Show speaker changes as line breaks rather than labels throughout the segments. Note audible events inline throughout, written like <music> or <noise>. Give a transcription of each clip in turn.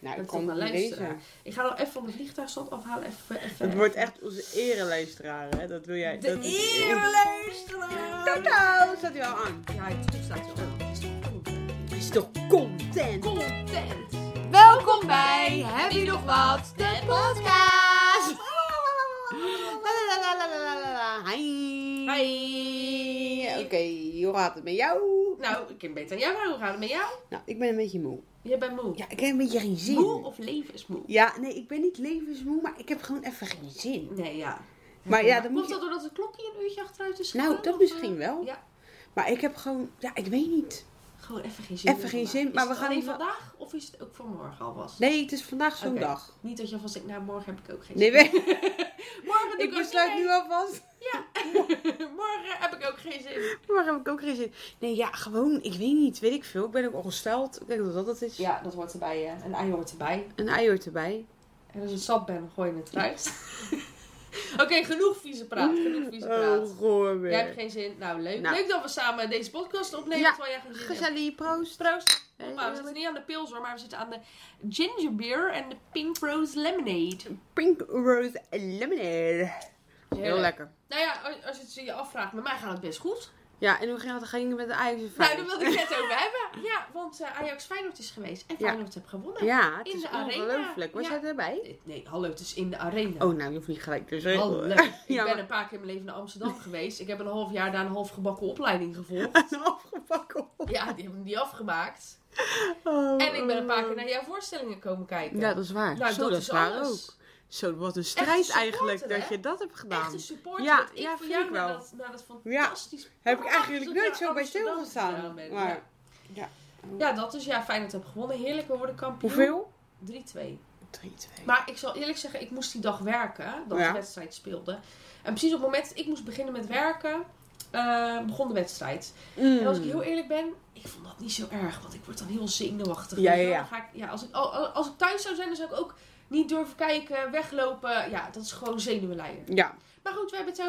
Nou, ik
Dat is toch
kon het
wel
niet
luisteraar.
lezen.
Ik ga nog even van de vliegtuigstand afhalen. Even, even,
Het wordt echt onze ereluisteraar, hè? Dat wil jij.
De
dat is-
eerlijkste!
Toto, staat hij al aan.
Ja, het stuk staat wel. Het is toch content.
Is toch content?
Content!
Welkom bij Heb je nog wat? De podcast! La, la, la, la, la, la, la. Hi!
Hi!
Oké, hoe gaat het met jou?
Nou, ik ken beter aan jou, maar hoe gaat het met jou?
Nou, ik ben een beetje moe.
Je bent moe.
Ja, ik heb een beetje geen zin.
Moe of levensmoe?
Ja, nee, ik ben niet levensmoe, maar ik heb gewoon even geen zin.
Nee, ja.
Maar ja, dan moet
Komt
je...
dat doordat de klokje een uurtje achteruit is
Nou,
gegaan,
dat
of,
misschien
eh,
wel.
Ja,
Maar ik heb gewoon... Ja, ik weet niet.
gewoon even geen zin.
Even
meer
geen
vandaag.
zin, maar
is
we
het
gaan
alleen
wel-
vandaag of is het ook voor morgen alvast?
Nee, het is vandaag zo'n
Oké.
dag.
Niet dat je alvast denkt, nou, morgen heb ik ook geen
Nee,
zin.
we-
Morgen
<laughs>
doe
ik
ik, ook
besluit
niet
nu alvast.
mee. <laughs> Morgen heb ik ook geen zin.
Maar heb ik ook geen zin. Nee, ja, gewoon, ik weet niet, weet ik veel. Ik ben ook ongesteld. Ik denk dat dat het is.
Ja, dat hoort erbij. eh, Een ei hoort erbij.
Een ei hoort erbij.
En als je sap bent, dan gooi je het eruit. <laughs> Oké, genoeg vieze praat. Genoeg vieze praat.
Oh, goor
Jij hebt
weer.
geen zin. Nou, leuk.
Nou.
Leuk dat we samen deze podcast opnemen
Ja,
terwijl jij geen zin hebt.
Gezellig, proost.
Proost.
Hey,
Hoppa, we zitten niet aan de pils hoor, maar we zitten aan de ginger beer en de pink rose lemonade.
Pink Rose Lemonade. Heel
Heerlijk.
lekker.
Nou ja, als- als je het je afvraagt, met mij gaat het best goed.
Ja, en hoe ging dat? Ging het met de ei?
Nou, daar wilde ik het net over hebben. Ja, want eh, Ajax Feyenoord is geweest en
Ja.
Feyenoord heeft gewonnen.
Ja, het
In
is
de arena.
ongelooflijk. Was
Ja.
jij erbij?
Nee, Nee, hallo, het is in de arena.
Oh, nou, je hoeft niet gelijk te zeggen.
Hallo.
<laughs> hoor.
Oh, Ik
Ja,
ben
maar-
een paar keer in mijn leven naar Amsterdam geweest. Ik heb een half jaar daar een half gebakken
<laughs>
opleiding gevolgd.
Een afgebakken hond.
Ja, die hebben die afgemaakt.
Oh,
En ik ben een paar
oh.
keer naar jouw voorstellingen komen kijken.
Ja, dat is waar.
Nou,
Zo, dat, is waar
alles.
ook. Zo, wat een strijd eigenlijk
supporter,
dat
hè?
je dat hebt gedaan.
Echt een supporter.
Ja,
dat ik
ja,
voor
vind
jou
ik
naar
wel.
dat, naar dat
Ja.
fantastisch...
Heb ik eigenlijk
prachtig
nooit zo bij
Amsterdam
stilgestaan.
gedaan ben.
Maar
Ja. Ja, dat is. Ja, Feyenoord heb gewonnen. Heerlijk, we worden kampioen.
hoeveel?
3-2.
3-2.
Maar ik zal eerlijk zeggen, ik moest die dag werken. Dat
Ja.
de wedstrijd speelde. En precies op het moment dat ik moest beginnen met werken... eh, begon de wedstrijd.
Mm.
En als ik
Hmm.
heel eerlijk ben, ik vond dat niet zo erg. Want ik word dan heel zenuwachtig.
Ja,
weet je
ja,
wel.
ja.
Dan ga ik, ja als, ik, al- al- als ik thuis zou zijn, dan zou ik ook niet durven kijken, weglopen. Ja, dat is gewoon zenuwleier.
Ja.
Maar goed, we hebben het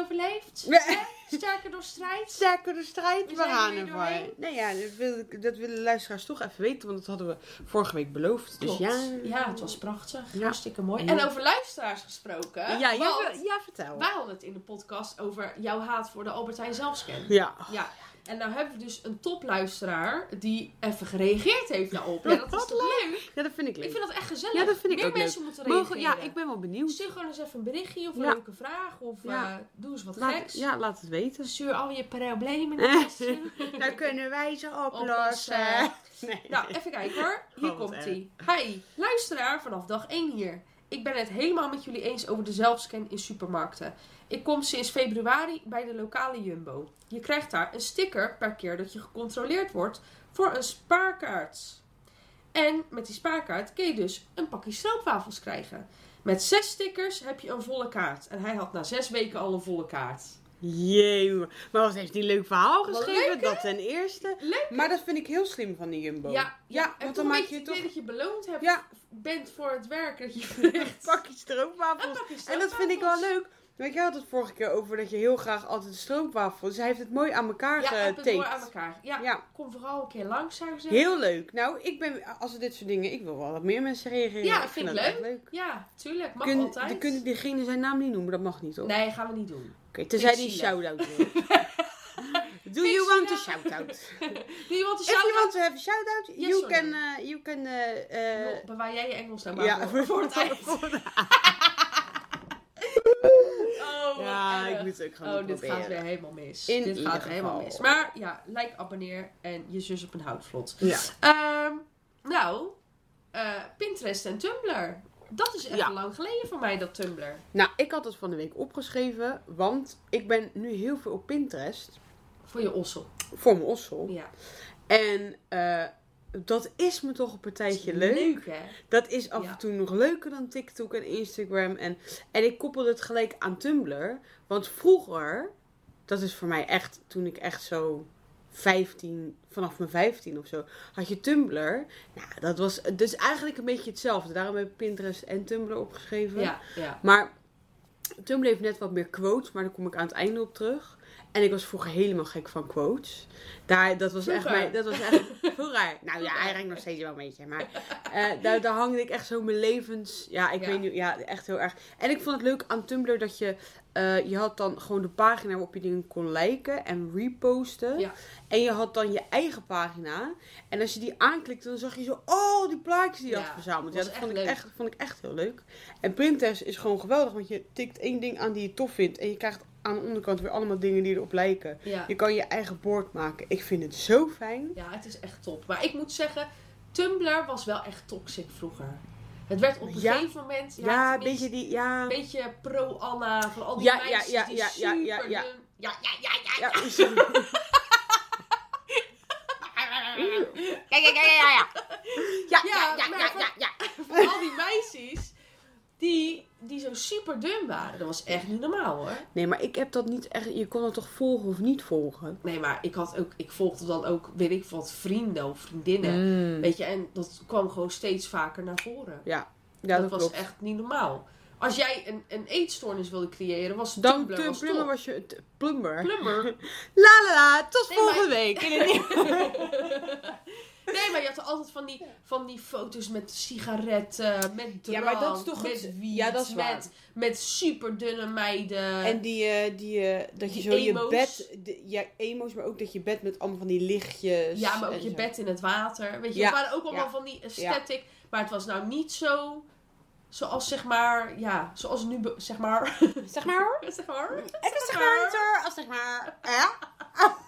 <laughs>
overleefd.
Ja.
Hè? Sterker door strijd.
Sterker de strijd,
We
we
zijn er
gaan
weer
ervoor.
doorheen.
Nee, ja, dat, wil ik- dat willen luisteraars toch even weten, want dat hadden we vorige week beloofd.
Klopt.
Dus ja.
ja, het was prachtig.
Ja.
Hartstikke mooi.
Ja.
En over luisteraars gesproken.
Ja, ja,
want
we- ja, vertel.
wij hadden het in de podcast over jouw haat voor de Albert Heijn zelfscan.
Ja.
Ja, en nou hebben we dus een topluisteraar die even gereageerd heeft daarop. Ja, dat is
Wat
toch leuk?
ja, dat vind ik
Ik
leuk.
vind dat echt gezellig.
Ja, dat vind ik
Meer
ook
mensen moeten reageren.
Mogen, ja, ik ben wel benieuwd.
Stuur gewoon eens even een berichtje of een
Ja.
leuke vraag. Of
Ja.
eh, doe eens wat
Laat,
geks.
ja, laat het
<laughs>
weten.
Stuur al je problemen
<laughs>
naar ons toe.
Daar kunnen wij ze
Oplossen.
<laughs> Nee.
Nou, even kijken
<laughs>
hoor. Hier
Oh, wat
komt ie. Hi, luisteraar vanaf dag 1 hier. Ik ben het helemaal met jullie eens over de zelfscan in supermarkten. Ik kom sinds februari bij de lokale Jumbo. Je krijgt daar een sticker per keer dat je gecontroleerd wordt voor een spaarkaart. En met die spaarkaart kun je dus een pakje stroopwafels krijgen. Met zes stickers heb je een volle kaart. En hij had na zes weken al een volle kaart.
Jee, maar wat heeft die leuk verhaal
Wat
geschreven?
leuk,
dat ten eerste.
Leuk.
Maar dat vind ik heel slim van die Jumbo.
Ja, ja. en
want
toch
dan maak
een beetje
je
het idee
toch
dat je beloond hebt,
Ja.
bent voor het werk dat je verricht.
<laughs> een pakje stroopwafels. En dat vind ik wel leuk. Want jij had het vorige keer over dat je heel graag altijd stroopwafels. Dus hij heeft het mooi aan elkaar
Ja, heb het mooi aan
getaped.
elkaar. Ja,
Ja,
kom vooral een keer langs, zou ik zeggen.
heel leuk. Nou, ik ben, als er dit soort dingen, ik wil wel dat meer mensen reageren.
Ja, vind ik
dat
leuk.
echt leuk.
Ja, tuurlijk. Mag
Kun-
altijd.
dan kunnen diegene zijn naam niet noemen, dat mag niet, toch?
Nee, gaan we niet doen.
Oké, tenzij die
Vind ik
shout-out
<laughs>
wil. Do
Vind ik
you want a
zielig.
shout-out?
Doe je wat een
If you
shout-out?
want to have a shout-out,
Yes
you,
or
can,
no?
eh, you can... eh, eh,
Wil- Bewaar jij je Engels nou maar voor, voor het
<laughs>
eind. Oh, wat
Ja,
erg.
ik moet het ook gewoon
Oh, dit
proberen.
gaat weer helemaal mis.
In
dit
ieder
gaat weer helemaal
geval.
mis. Maar ja, like, abonneer en je zus op een houtvlot.
Ja.
Ehm, nou, eh, Pinterest en Tumblr. Dat is echt
Ja.
lang geleden voor mij, dat Tumblr.
Nou, ik had het van de week opgeschreven, want ik ben nu heel veel op Pinterest
Voor je ossel.
voor mijn ossel.
Ja.
En eh, dat is me toch een partijtje leuk.
hè?
Dat is af
Ja.
en toe nog leuker dan TikTok en Instagram. En, en ik koppel het gelijk aan Tumblr. Want vroeger, dat is voor mij echt toen ik echt zo 15, vanaf mijn 15 of zo, had je Tumblr. Nou, dat was dus eigenlijk een beetje hetzelfde. Daarom heb ik Pinterest en Tumblr opgeschreven.
Ja, ja.
Maar Tumblr heeft net wat meer quotes, maar daar kom ik aan het einde op terug. En ik was vroeger helemaal gek van quotes. Daar, dat was echt
Vroeger.
mijn... Dat was
<laughs>
echt vroeger. Nou ja, hij rijdt nog steeds wel een beetje. Maar eh, daar, daar hangde ik echt zo mijn levens... Ja, ik
Ja.
weet niet... Ja, echt heel erg. En ik vond het leuk aan Tumblr dat je... eh, je had dan gewoon de pagina waarop je dingen kon liken en reposten.
Ja.
En je had dan je eigen pagina. En als je die aanklikte, dan zag je zo... Oh, die plaatjes die je
Ja,
had verzameld. Ja,
was
dat
echt
vond ik,
leuk.
echt, vond ik echt heel leuk. En Pinterest is gewoon geweldig. Want je tikt één ding aan die je tof vindt. En je krijgt aan de onderkant weer allemaal dingen die erop lijken.
Ja.
Je kan je eigen board maken. Ik vind het zo fijn.
ja, het is echt top. Maar ik moet zeggen, Tumblr was wel echt toxic vroeger. Het werd op een
Ja.
gegeven moment...
Ja,
tenminste,
een beetje die... Ja,
Een beetje pro-Anna, van al die
Ja, ja,
meisjes
ja,
die
ja, ja,
super
ja, ja.
dun- Ja, ja, ja,
ja.
ja,
Ja, ja, ja, ja, ja.
Ah,
Ja,
Ja,
ja, ja,
maar
ja,
van-
ja, ja.
Van al die meisjes die, die zo super dun waren. Dat was echt niet normaal hoor.
Nee, maar ik heb dat niet echt... Je kon dat toch volgen of niet volgen?
Nee, maar ik, had ook, ik volgde dan ook, weet ik wat, vrienden of vriendinnen.
Mm.
Weet je, en dat kwam gewoon steeds vaker naar voren.
Ja, ja dat,
dat was
klopt.
echt niet normaal. Als jij een, een eetstoornis wilde creëren, was
Dan
Tumblr was
Plumber
top.
was je... t- Plumber.
Plumber.
La la la, tot
Nee,
volgende
maar-
week.
<laughs>
In een nieuwe-
Nee, maar je had er altijd van die, van die foto's met sigaretten, met drank,
Ja, maar dat is toch
met
het-
wiet,
ja, dat is waar.
met, met super dunne meiden.
En die, eh, die, eh, dat je
Die
zo je
emo's.
bed... de- ja, emo's, maar ook dat je bed met allemaal van die lichtjes.
ja, maar
en
ook je
zo.
bed in het water. Weet je,
dus, Ja,
het waren ook allemaal
ja,
van die aesthetic. Maar het was nou niet zo, zoals zeg maar, ja, zoals nu, be- zeg maar. <laughs>
Zeg maar hoor.
zeg maar.
Ik ben zeg maar hoor, Als zeg maar... Ja? <laughs>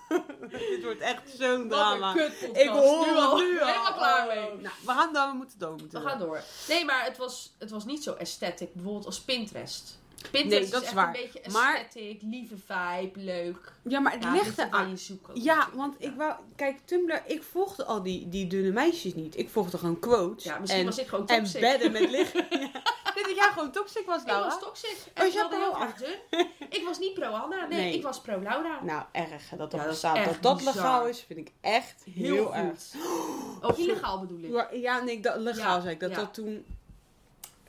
Dit wordt echt zo'n
Wat
drama.
een kutpodcast.
Ik hoor
nu
het
al.
nu al.
<laughs> Helemaal klaar mee.
Nou, we gaan dan, we moeten door.
We gaan door. Nee, maar het was, het was niet zo aesthetic, bijvoorbeeld als Pinterest. Pinterest
Nee,
is,
dat is
echt
waar.
een beetje
Maar-
aesthetic, lieve vibe, leuk.
Ja, maar het
Ja,
ligt
ligt aan
eraan.
je zoeken.
Ja, want ik wou... Kijk, Tumblr, ik volgde al die, die dunne meisjes niet. Ik volgde gewoon quotes.
Ja, misschien
en,
was ik gewoon
En
toxic.
bedden met <laughs> licht. Ja. Dit dat jij gewoon toxic was,
Ik
Laura.
was toxic.
Oh,
En
is
ik
dat
wilde heel erg dun. Ik was niet pro-Anna. Nee,
Nee.
ik was pro-Laura.
Nou, erg hè, dat
Ja,
dat
dat is
bestaat.
echt
Dat dat
bizar.
legaal is, vind ik echt heel,
heel
erg.
goed. <gasps> Oh, illegaal bedoel ik.
Ja, Ja, nee, dat, legaal
Ja,
zei ik. Dat
ja.
dat toen...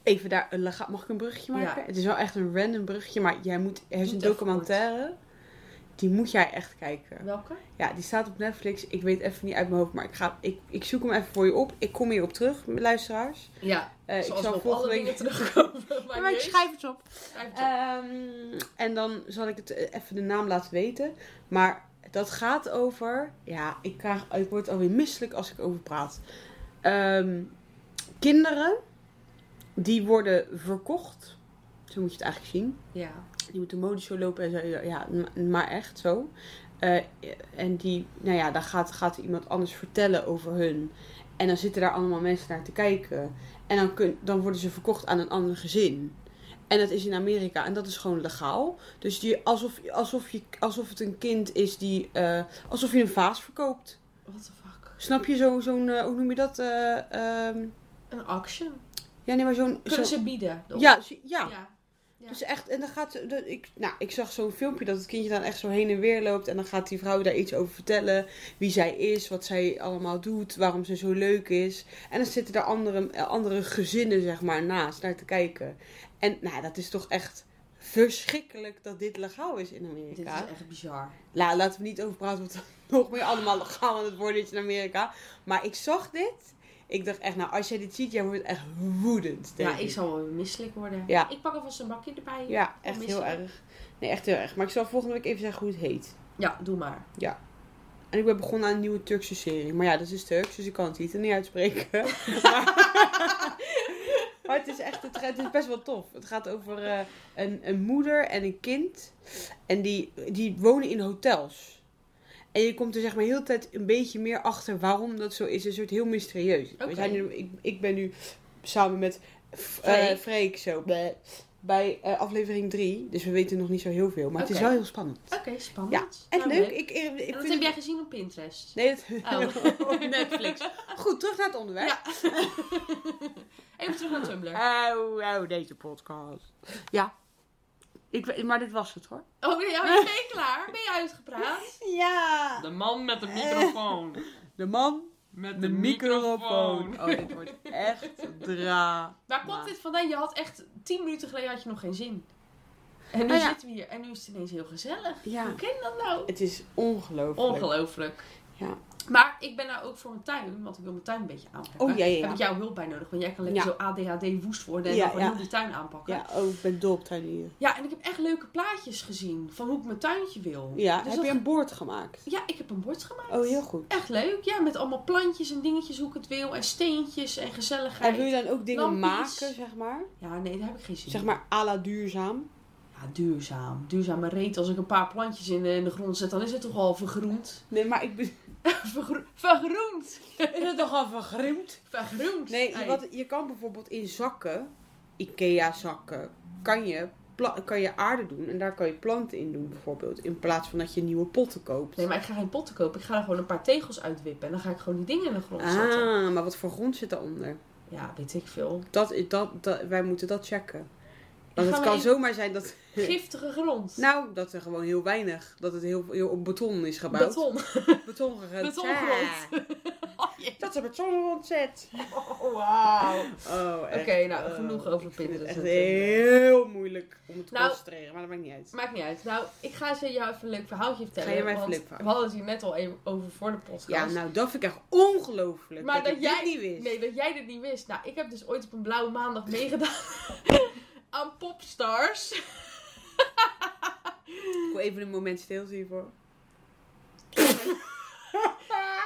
Even daar, een legaal, mag ik een brugje
Ja.
maken? Het is wel echt een random brugje, maar jij moet, er is
Doe
een
het even
documentaire. Die moet jij echt kijken.
Welke?
Ja, die staat op Netflix. Ik weet even niet uit mijn hoofd, maar ik, ga, ik, ik zoek hem even voor je op. Ik kom hierop terug, luisteraars.
Ja,
Eh, ik
zoals
zal
we op alle
volgende
dingen
week...
terugkomen.
<laughs>
Maar
Ja, maar ik
niet
schrijf het op.
eens. Schrijf het op.
Ehm, en dan zal ik het eh, even de naam laten weten. Maar dat gaat over. Ja, ik, krijg, ik word alweer misselijk als ik over praat. Ehm, kinderen die worden verkocht. Zo moet je het eigenlijk zien.
ja.
Die moeten modeshow lopen en zo. Ja, m- maar echt zo. Eh, en die, nou ja, daar gaat, gaat iemand anders vertellen over hun. En dan zitten daar allemaal mensen naar te kijken. En dan, kun, dan worden ze verkocht aan een ander gezin. En dat is in Amerika en dat is gewoon legaal. Dus die, alsof, alsof, je, alsof het een kind is die. eh, alsof je een vaas verkoopt.
What the fuck?
Snap je zo- zo'n. eh, hoe noem je dat? Eh, ehm,
Een auction.
ja, nee, maar zo'n.
Kunnen
zo'n-
ze bieden? de
ja, zo- ja,
auction. ja. Ja.
dus echt, en dan gaat ze- de- ik, nou, ik zag zo'n filmpje dat het kindje dan echt zo heen en weer loopt. En dan gaat die vrouw daar iets over vertellen. Wie zij is, wat zij allemaal doet, waarom ze zo leuk is. En dan zitten daar andere, eh, andere gezinnen, zeg maar, naast naar te kijken. En nou, dat is toch echt verschrikkelijk dat dit legaal is in
Dit
Amerika.
is echt bizar.
La, laten we niet over praten, want dan <laughs> nog meer allemaal legaal aan het worden is in Amerika. Maar ik zag dit. Ik dacht echt, nou, als jij dit ziet, jij wordt echt woedend. denk
Ja, ik zal wel misselijk worden.
Ja.
Ik pak alvast een bakje erbij.
ja,
Wel
echt heel
misselijk.
erg. Nee, echt heel erg. Maar ik zal volgende week even zeggen hoe het heet.
Ja, doe maar.
En ik ben begonnen aan een nieuwe Turkse serie. Maar ja, dat is Turks, dus ik kan het niet, niet uitspreken.
<laughs>
maar, <laughs> maar het is echt het, het is best wel tof. Het gaat over eh, een, een moeder en een kind. En die, die wonen in hotels. En je komt er zeg maar heel de tijd een beetje meer achter waarom dat zo is. Een soort heel mysterieus.
Oké.
We zijn nu, ik, ik ben nu samen met F- eh,
Freek.
Freek. zo bleh, bij eh, aflevering 3. Dus we weten nog niet zo heel veel. Maar het is
Oké.
wel heel spannend.
Oké, spannend.
En
Nou,
leuk. Ik, eh, ik, ik
En dat
vind
heb
het-
jij gezien op Pinterest.
Nee, dat...
Oh. <laughs>
op Netflix. <laughs> Goed, terug naar het onderwerp.
Ja. Even terug naar Tumblr.
Oh, oh, deze podcast. Ja. Ik, weet- maar dit was het hoor.
Oh nee, ja, ben je klaar? Ben je uitgepraat?
Ja.
De man met de microfoon.
De man
Met
met
de microfoon.
Oh, dit wordt echt dra.
Waar komt
Maar-
dit vandaan? Je had echt 10 minuten geleden had je nog geen zin. En nu
Nou ja.
zitten we hier en nu is het ineens heel gezellig.
Ja,
Hoe ken je dat nou?
het is ongelooflijk.
Ongelooflijk.
Ja.
Maar ik ben nou ook voor mijn tuin, want ik wil mijn tuin een beetje aanpakken.
Oh, ja, ja, ja.
Heb ik jouw hulp bij nodig, want jij kan lekker
Ja.
zo ADHD woest worden en
Ja,
dan gewoon
ja.
heel die tuin aanpakken.
Ja, oh, ik ben dol op tuinieren.
Ja, en ik heb echt leuke plaatjes gezien van hoe ik mijn tuintje wil.
Ja,
Dus
heb
dat-
je een boord gemaakt?
Ja, ik heb een bord gemaakt.
Oh, heel goed.
Echt leuk, ja, met allemaal plantjes en dingetjes hoe ik het wil en steentjes en gezelligheid.
En wil je dan ook dingen
Lampjes.
maken, zeg maar?
Ja, nee, daar heb ik geen zin
Zeg
in.
maar à la duurzaam.
Ja, duurzaam. Duurzame reet. Als ik een paar plantjes in de, in de grond zet, dan is het toch al vergroend. <laughs>
Nee, maar ik ben...
Vergro- vergroend!
<laughs> Is het toch al vergrimd?
Vergroend!
Nee, je,
Hey.
wat, je kan bijvoorbeeld in zakken, Ikea-zakken, kan je, pla- kan je aarde doen. En daar kan je planten in doen, bijvoorbeeld. In plaats van dat je nieuwe potten koopt.
Nee, maar ik ga geen potten kopen. Ik ga er gewoon een paar tegels uitwippen. En dan ga ik gewoon die dingen in de grond zetten.
Ah, maar wat voor grond zit daaronder?
Ja, weet ik veel.
<laughs> Dat, is- dat, dat, wij moeten dat checken. Want
gaan
het
we
kan
even-
zomaar zijn dat...
Giftige grond.
Nou, dat er gewoon heel weinig. Dat het heel, heel op beton is gebouwd.
Beton.
<laughs> Beton gered.
Betongrond. <laughs> Oh, jee.
Dat ze betongrond zet.
<laughs> Oh, wauw.
Oh, echt.
Oké, nou,
Oh,
genoeg over
Ik vind het
Pinterest
echt
natuurlijk.
heel moeilijk om het te
Nou,
concentreren, maar dat maakt niet uit.
Maakt niet uit. Nou, ik ga ze jou even een leuk verhaaltje vertellen.
Ga je mij even
want
leuk verhaal-
We hadden het hier net al even over voor de podcast.
Ja, nou, dat vind ik echt ongelooflijk.
Maar
dat,
dat
ik
jij-
dit niet wist.
Nee, dat jij dit niet wist. Nou, ik heb dus ooit op een blauwe
<laughs>
maandag meegedaan <laughs> aan Popstars.
Ik wil even een moment stilzien hiervoor.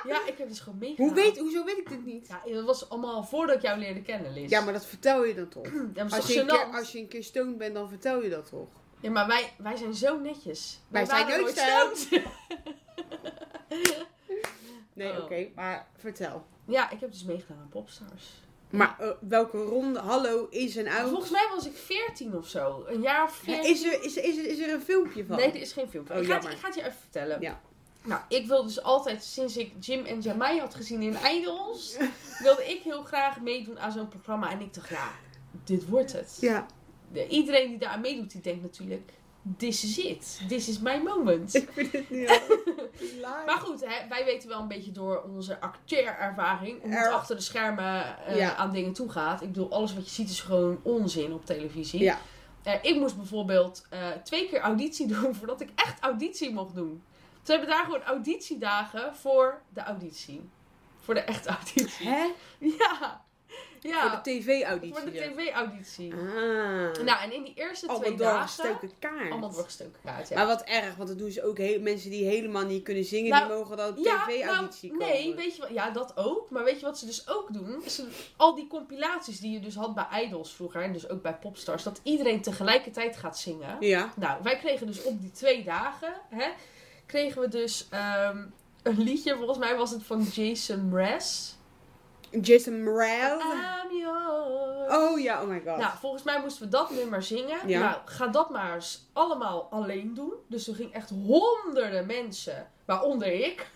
Ja, ik heb dus gewoon meegedaan.
Hoe weet, hoezo weet ik dit niet?
Ja, dat was allemaal voordat ik jou leerde kennen, Liz.
Ja, maar dat vertel je dan toch?
Ja, maar
Als
is
je,
toch
een keer,
gênant?
als je een keer stoned bent, dan vertel je dat toch?
Ja, maar wij, wij zijn zo netjes.
Wij zijn
waren
nooit
stoned.
Nee,
Oh.
oké, maar vertel.
<laughs> Ja, ik heb dus meegedaan aan Popstars.
Maar eh, welke ronde? Hallo, is en
Maar
out?
Volgens mij was ik 14 of zo. Een jaar of 14.
Is er, is, er- is, er, is er een filmpje van?
Nee, er is geen filmpje.
Oh,
ik, ga het,
jammer.
ik ga het je even vertellen.
Ja.
Nou, ik wil dus altijd, sinds ik Jim en Jamai had gezien in Idols,
<laughs>
wilde ik heel graag meedoen aan zo'n programma. En ik dacht, ja, dit wordt het.
Ja. <laughs>
De- Iedereen die daar aan meedoet, die denkt natuurlijk, this is it. This is my moment.
Ik vind het niet al. Live.
<laughs> Maar goed, hè, wij weten wel een beetje door onze acteerervaring hoe het
Er-
achter de schermen eh,
Ja.
aan dingen toe gaat. Ik bedoel, alles wat je ziet is gewoon onzin op televisie.
Ja.
Eh, ik moest bijvoorbeeld eh, twee keer auditie <laughs> doen voordat ik echt auditie mocht doen. Ze hebben daar gewoon auditiedagen voor de auditie. Voor de echte auditie. <laughs>
Hè?
Ja.
Voor
Ja.
de tv-auditie.
Voor de tv-auditie.
Ah.
Nou, en in die eerste
allemaal
twee dagen...
doorgestoken kaart.
Allemaal doorgestoken kaart, ja.
Maar wat erg, want dat doen ze ook heel, mensen die helemaal niet kunnen zingen,
Nou,
die mogen dan op
nou,
tv-auditie komen.
nee, weet je wat? Ja, dat ook. Maar weet je wat ze dus ook doen? Ze, al die compilaties die je dus had bij Idols vroeger en dus ook bij Popstars, dat iedereen tegelijkertijd gaat zingen.
Ja.
Nou, wij kregen dus op die twee dagen, hè, kregen we dus ehm, een liedje. Volgens mij was het van Jason Mraz.
Jason Mraz.
I'm yours.
Ah, Oh ja, oh my god.
Nou, volgens mij moesten we dat nummer zingen.
Ja.
Nou, ga dat maar eens allemaal alleen doen. Dus er ging echt honderden mensen, waaronder ik, <laughs>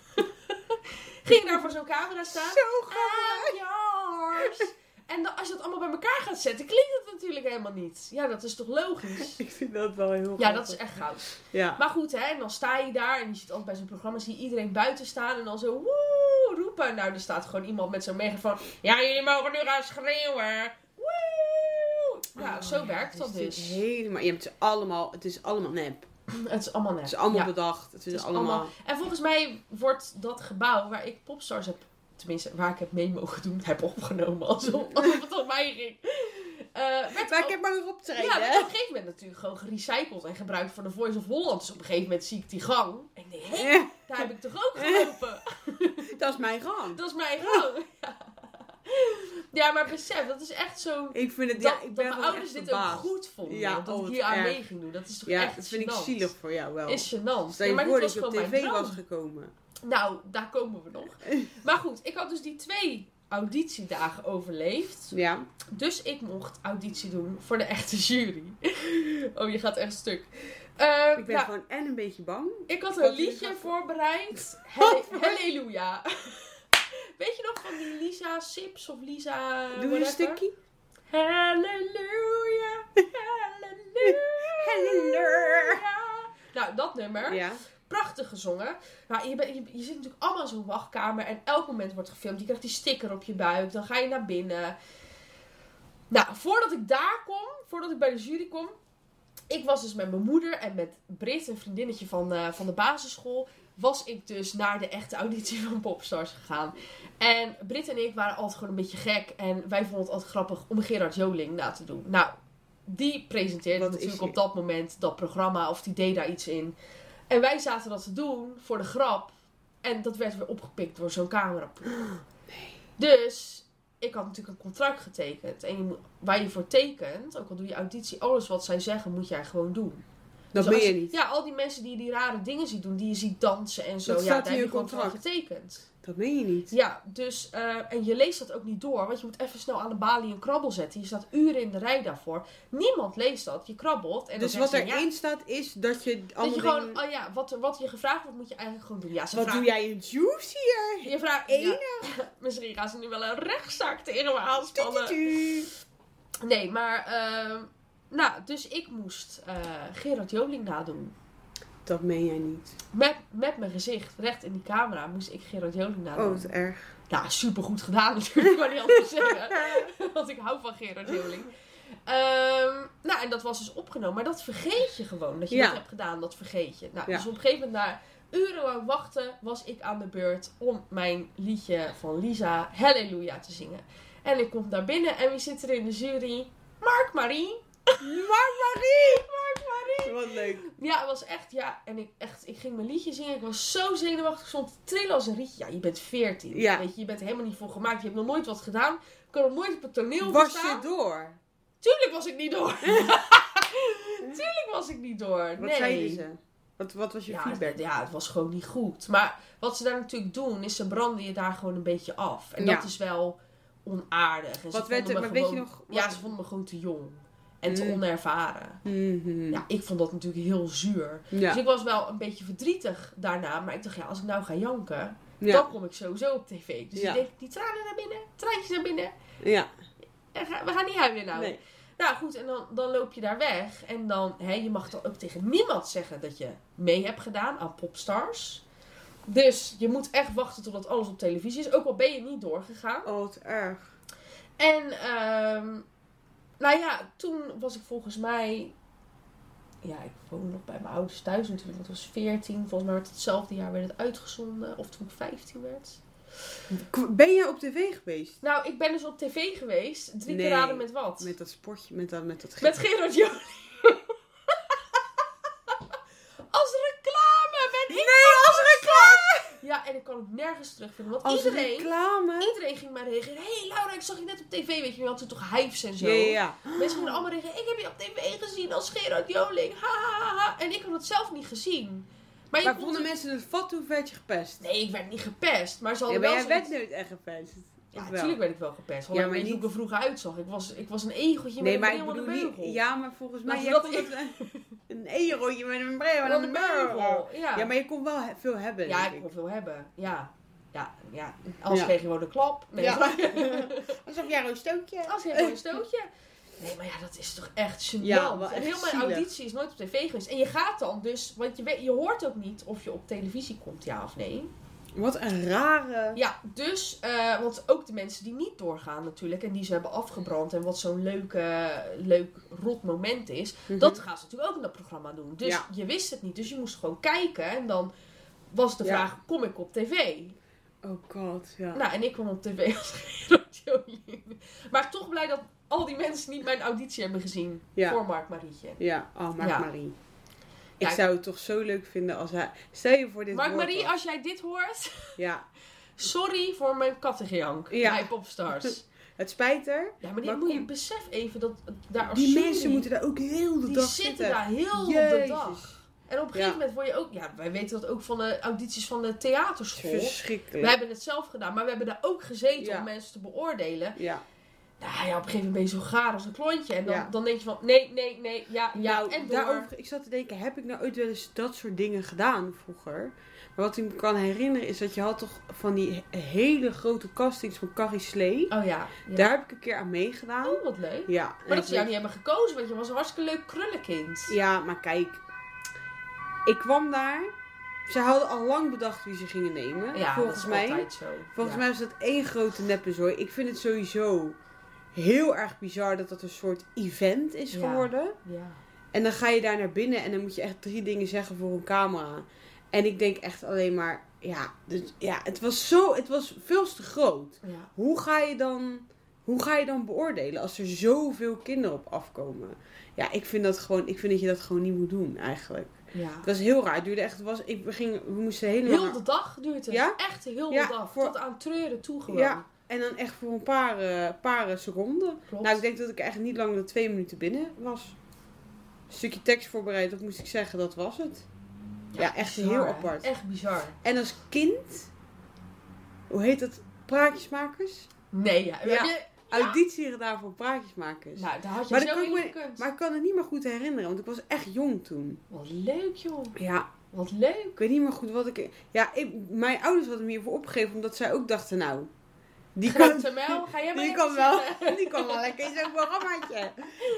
ging daar voor zo'n camera staan.
Zo grappig.
I'm yours. En dan, als je dat allemaal bij elkaar gaat zetten, klinkt het natuurlijk helemaal niet. Ja, dat is toch
<laughs>
logisch?
<laughs> Ik vind dat wel heel
Ja, dat
grappig.
is echt goud.
Ja.
Maar goed, hè, en dan sta je daar en je ziet altijd bij zo'n programma, zie je iedereen buiten staan en dan zo woe roepen. Nou, er staat gewoon iemand met zo'n megafoon. Ja, jullie mogen nu gaan schreeuwen. Woe! Nou,
Oh,
zo
ja,
werkt dat
het is
dus.
Helemaal, je hebt ze allemaal, het is allemaal nep.
Het is allemaal net.
Het is allemaal
Ja.
bedacht. Het is,
Het is
allemaal...
allemaal- En volgens mij wordt dat gebouw waar ik popstars heb, tenminste waar ik heb mee mogen doen, heb
<laughs>
opgenomen alsof, alsof het om mij ging. Eh, werd
Maar ik
ook-
heb maar weer optreden,
ja, werd
<laughs> hè?
op een gegeven moment natuurlijk gewoon gerecycled en gebruikt voor de Voice of Holland. Dus op een gegeven moment zie ik die gang en ik denk, hé, daar heb ik toch
<laughs>
ook gelopen?
Dat is mijn gang.
Dat is mijn gang. Ja. <laughs> Ja, maar besef, dat is echt zo...
Ik vind het,
Dat,
ja, ik ben
dat mijn
gewoon
ouders
echt
dit ook
verbaasd.
goed vonden.
Ja,
dat
oh,
ik
wat
hier aan
erg.
mee ging doen. Dat is toch
Ja,
echt
dat vind ik
gênant.
zielig voor jou wel.
Is gênant.
Stel
Ja,
je
maar
voor dat
dit was
je op
gewoon mijn
tv was
droom.
gekomen.
Nou, daar komen we
<laughs>
nog. Maar goed, ik had dus die twee auditiedagen overleefd.
Ja.
Dus ik mocht auditie doen voor de echte jury. <laughs> Oh, je gaat echt stuk. Eh,
Ik ben
nou,
gewoon en een beetje bang.
ik had
Wat
een
is
liedje
dat? <laughs>
voorbereid. Halle- Halleluja. <laughs> Weet je nog van die Lisa Sips of Lisa...
Doe je een
whatever?
stukje?
Halleluja, halleluja. Nou, dat nummer.
Ja.
prachtig gezongen. Maar je, bent- je, je zit natuurlijk allemaal in zo'n wachtkamer en elk moment wordt gefilmd. Je krijgt die sticker op je buik, dan ga je naar binnen. Nou, voordat ik daar kom, voordat ik bij de jury kom, Ik was dus met mijn moeder en met Brit, een vriendinnetje van, eh, van de basisschool, was ik dus naar de echte auditie van Popstars gegaan. En Brit en ik waren altijd gewoon een beetje gek. En wij vonden het altijd grappig om Gerard Joling na te doen. Nou, die presenteerde
Wat is
natuurlijk
die?
op dat moment dat programma of die deed daar iets in. En wij zaten dat te doen voor de grap. En dat werd weer opgepikt door zo'n cameraploeg.
<gasps>
Dus ik had natuurlijk een contract getekend. En je moet- waar je voor tekent, ook al doe je auditie, alles wat zij zeggen moet jij gewoon doen.
Dat
Dus
ben
als-
je niet.
Ja, al die mensen die die rare dingen ziet doen, die je ziet dansen en zo.
Dat
ja,
staat
daar
in
heb
je
je gewoon voor
contract.
getekend.
Dat ben je niet.
Ja, dus, eh, en je leest dat ook niet door, want je moet even snel aan de balie een krabbel zetten. Je staat uren in de rij daarvoor. Niemand leest dat. Je krabbelt. En dan
dus
zeggen
wat
ze, ja,
erin staat is dat je
Dat je
andere
gewoon,
dingen-
oh ja, wat, wat je gevraagd wordt, moet je eigenlijk gewoon doen. Ja, ze
Wat
vragen-
doe jij in Juicy?
Je vraagt, ja, <laughs> misschien gaan ze nu wel een rechtszaak tegen me aanspannen. Nee, maar. ehm, nou, dus ik moest eh, Gerard Joling nadoen.
Dat meen jij niet.
Met, met mijn gezicht recht in die camera moest ik Gerard Joling
Oh,
nadoen.
wat
<laughs>
erg.
Nou, supergoed gedaan <laughs> natuurlijk, kan niet anders zeggen.
<laughs>
Want ik hou van Gerard Joling. Ehm, nou, en dat was dus opgenomen. Maar dat vergeet je gewoon. Dat je
Ja.
dat hebt gedaan, dat vergeet je. Nou,
Ja.
dus op een gegeven moment na uren lang wachten was ik aan de beurt om mijn liedje van Lisa, Halleluja, te zingen. En ik kom daar binnen en wie zit er in de jury? Mark Marie. Mark Marie! Mark Marie!
Wat leuk.
Ja, het was echt, ja. En ik, echt, ik ging mijn liedje zingen. Ik was zo zenuwachtig. Ik stond te trillen als een rietje. Ja, je bent veertien.
Ja.
Weet je, je bent er helemaal niet voor gemaakt. Je hebt nog nooit wat gedaan. Je kan nog nooit op het toneel
Was
staan.
je door?
Tuurlijk was ik niet
<laughs>
door. Tuurlijk was ik niet door.
Wat
nee.
zeiden ze? Wat, wat was eh, je
Ja,
feedback?
het- ja, het was gewoon niet goed. Maar wat ze daar natuurlijk doen, is ze branden je daar gewoon een beetje af. En
Ja.
dat is wel onaardig. En ze
Wat werd
vonden
er-
me
maar weet
gewoon-
je nog-
Ja,
wat-
ze vonden me gewoon te jong. En te
Mm.
onervaren.
Mhm.
Ja, ik vond dat natuurlijk heel zuur.
Ja.
Dus ik was wel een beetje verdrietig daarna. Maar ik dacht, ja, als ik nou ga janken,
Ja.
dan kom ik sowieso op tv. Dus
Ja.
ik denk, die tranen naar binnen, traantjes naar binnen.
Ja.
En ga- we gaan niet huilen nou.
Nee.
Nou goed, en dan, dan loop je daar weg. En dan, hè, je mag dan ook tegen niemand zeggen dat je mee hebt gedaan aan Popstars. Dus je moet echt wachten totdat alles op televisie is. Ook al ben je niet doorgegaan.
Oh, wat erg.
En ehm, nou ja, toen was ik volgens mij. Ja, ik woon nog bij mijn ouders thuis natuurlijk. Want ik was 14. Volgens mij werd het hetzelfde jaar werd het uitgezonden. Of toen ik 15 werd.
K- Ben je op tv geweest?
Nou, ik ben dus op tv geweest. Drie
Nee.
keer raden met wat?
Met dat sportje, met dat, met dat
Met Gerard Joling. <laughs> als reclame ben ik. Nee, als reclame! Ja, en ik kan het nergens terugvinden. Want
Als
iedereen,
reclame?
iedereen ging mij reageren. Hé hey Laura, ik zag je net op tv. Weet je, je had toen toch hypes en zo.
Ja, ja, ja.
Mensen gingen allemaal reageren. Ik heb je op tv gezien als Gerard Joling. Ha, ha, ha, ha. En ik had het zelf niet gezien. Maar, je
Maar
kon
vonden
het-
mensen het vat hoe werd je gepest?
Nee, ik werd niet gepest. Maar ze
Ja,
hadden
maar
wel
jij
zoiets-
werd nooit echt gepest.
Ja,
Of wel?
natuurlijk werd ik wel gepest. Alleen
Ja, maar
weet je hoe
niet-
ik er vroeger uitzag? Ik was, ik was een egeltje
Nee,
met
maar
een
ik
bril en
bedoel
een
niet...
beugel.
Ja, maar volgens mij...
Laten
jij
we
vond
dat
het <laughs> een egeltje met een bril en
Met
een beugel.
Ja,
Ja, maar je kon wel he- veel hebben,
ja
denk
ik
ik.
kon veel hebben. Ja, ja, ja. Anders
Ja.
kreeg je gewoon een klap. Nee,
Ja.
maar- <laughs>
Alsof jij een stootje...
Als je gewoon een stootje. Nee, maar ja, dat is toch echt gênant.
Ja, wel
en
echt
heel mijn
zielig.
auditie is nooit op tv geweest. En je gaat dan dus, want je, weet, je hoort ook niet of je op televisie komt, ja of nee.
Wat een rare...
Ja, dus, eh, want ook de mensen die niet doorgaan natuurlijk en die ze hebben afgebrand en wat zo'n leuke, leuk rot moment is,
Hm,
dat gaan ze natuurlijk ook in dat programma doen. Dus
Mhm. Ja.
je wist het niet, dus je moest gewoon kijken en dan was de
Ja.
vraag, kom ik op tv?
Oh god, ja.
Nou, en ik kwam op tv als Gerard Joling. <laughs> Maar toch blij dat al die mensen niet mijn auditie hebben gezien
Ja.
voor Mark Marietje.
Ja, oh, Mark
Ja.
Marie. Ik
Ja, ik-
zou het toch zo leuk vinden als hij... Stel je voor dit
Mark
woord
Marie,
was.
als jij dit hoort, <laughs>
Ja,
sorry voor mijn kattengejank
Ja.
bij Popstars.
het spijt er.
Ja, maar dit
Maar
moet je
kom-
besef even dat daar als
Die
jury,
mensen moeten daar ook heel de
die
dag
zitten
zitten.
daar heel de
Jezus.
dag. En op een gegeven
Ja.
moment word je ook, ja, wij weten dat ook van de audities van de theaterschool. We
Verschrikkelijk.
hebben het zelf gedaan, maar we hebben daar ook gezeten
Ja.
om mensen te beoordelen.
Ja.
Nou ja, op een gegeven moment ben je zo gaar als een klontje. En dan,
Ja.
dan denk je van, nee, nee, nee, ja, ja,
nou,
en door.
daarover, ik zat te denken, heb ik nou ooit wel eens dat soort dingen gedaan vroeger? Maar wat ik me kan herinneren is dat je had toch van die he- hele grote castings van Carrie Slee.
Oh ja. ja.
Daar heb ik een keer aan meegedaan.
Oh, wat leuk.
Ja. en
Maar dat
ik
ze jou
weet-
niet hebben gekozen, want je was een hartstikke leuk krullenkind.
Ja, maar kijk. Ik kwam daar. Ze hadden al lang bedacht wie ze gingen nemen.
Ja,
volgens
dat is
mij.
altijd zo.
Volgens
Ja.
mij is dat één grote neppenzooi. Ik vind het sowieso heel erg bizar dat dat een soort event is
Ja.
geworden.
Ja.
En dan ga je daar naar binnen en dan moet je echt drie dingen zeggen voor een camera. En ik denk echt alleen maar, ja, dus, ja het was zo, het was veel te groot.
Ja.
Hoe ga je dan, hoe ga je dan beoordelen als er zoveel kinderen op afkomen? Ja, ik vind dat gewoon, ik vind dat je dat gewoon niet moet doen eigenlijk.
ja.
Het was heel raar. Het duurde echt, het was, ik ging, we moesten helemaal.
Heel de dag duurt het.
Ja?
Echt heel
Ja,
de dag.
voor-
Tot aan treuren toe gewoon.
Ja. En dan echt voor een paar, eh, paar eh, seconden.
Klopt.
Nou, ik denk dat ik echt niet langer dan twee minuten binnen was. Een stukje tekst voorbereid, dat moest ik zeggen, dat was het. Ja, echt
bizar,
heel
hè?
apart.
Echt bizar.
En als kind, hoe heet dat? Praatjesmakers?
Nee, ja.
Ja.
Heb je-
Auditie gedaan voor praatjesmakers.
Nou, daar had je
Maar dat
zo
kan ik
in
me-
gekund.
Maar ik kan het niet meer goed herinneren, want ik was echt jong toen.
Wat leuk, joh.
Ja,
Wat leuk.
ik weet niet meer goed wat ik. Ja, ik, mijn ouders hadden me hiervoor opgegeven, omdat zij ook dachten, nou, <laughs> die kan,
Grote Mel, ga jij maar
Die
even
kan wel.
zitten.
Die kan wel lekker in zo'n programmaatje.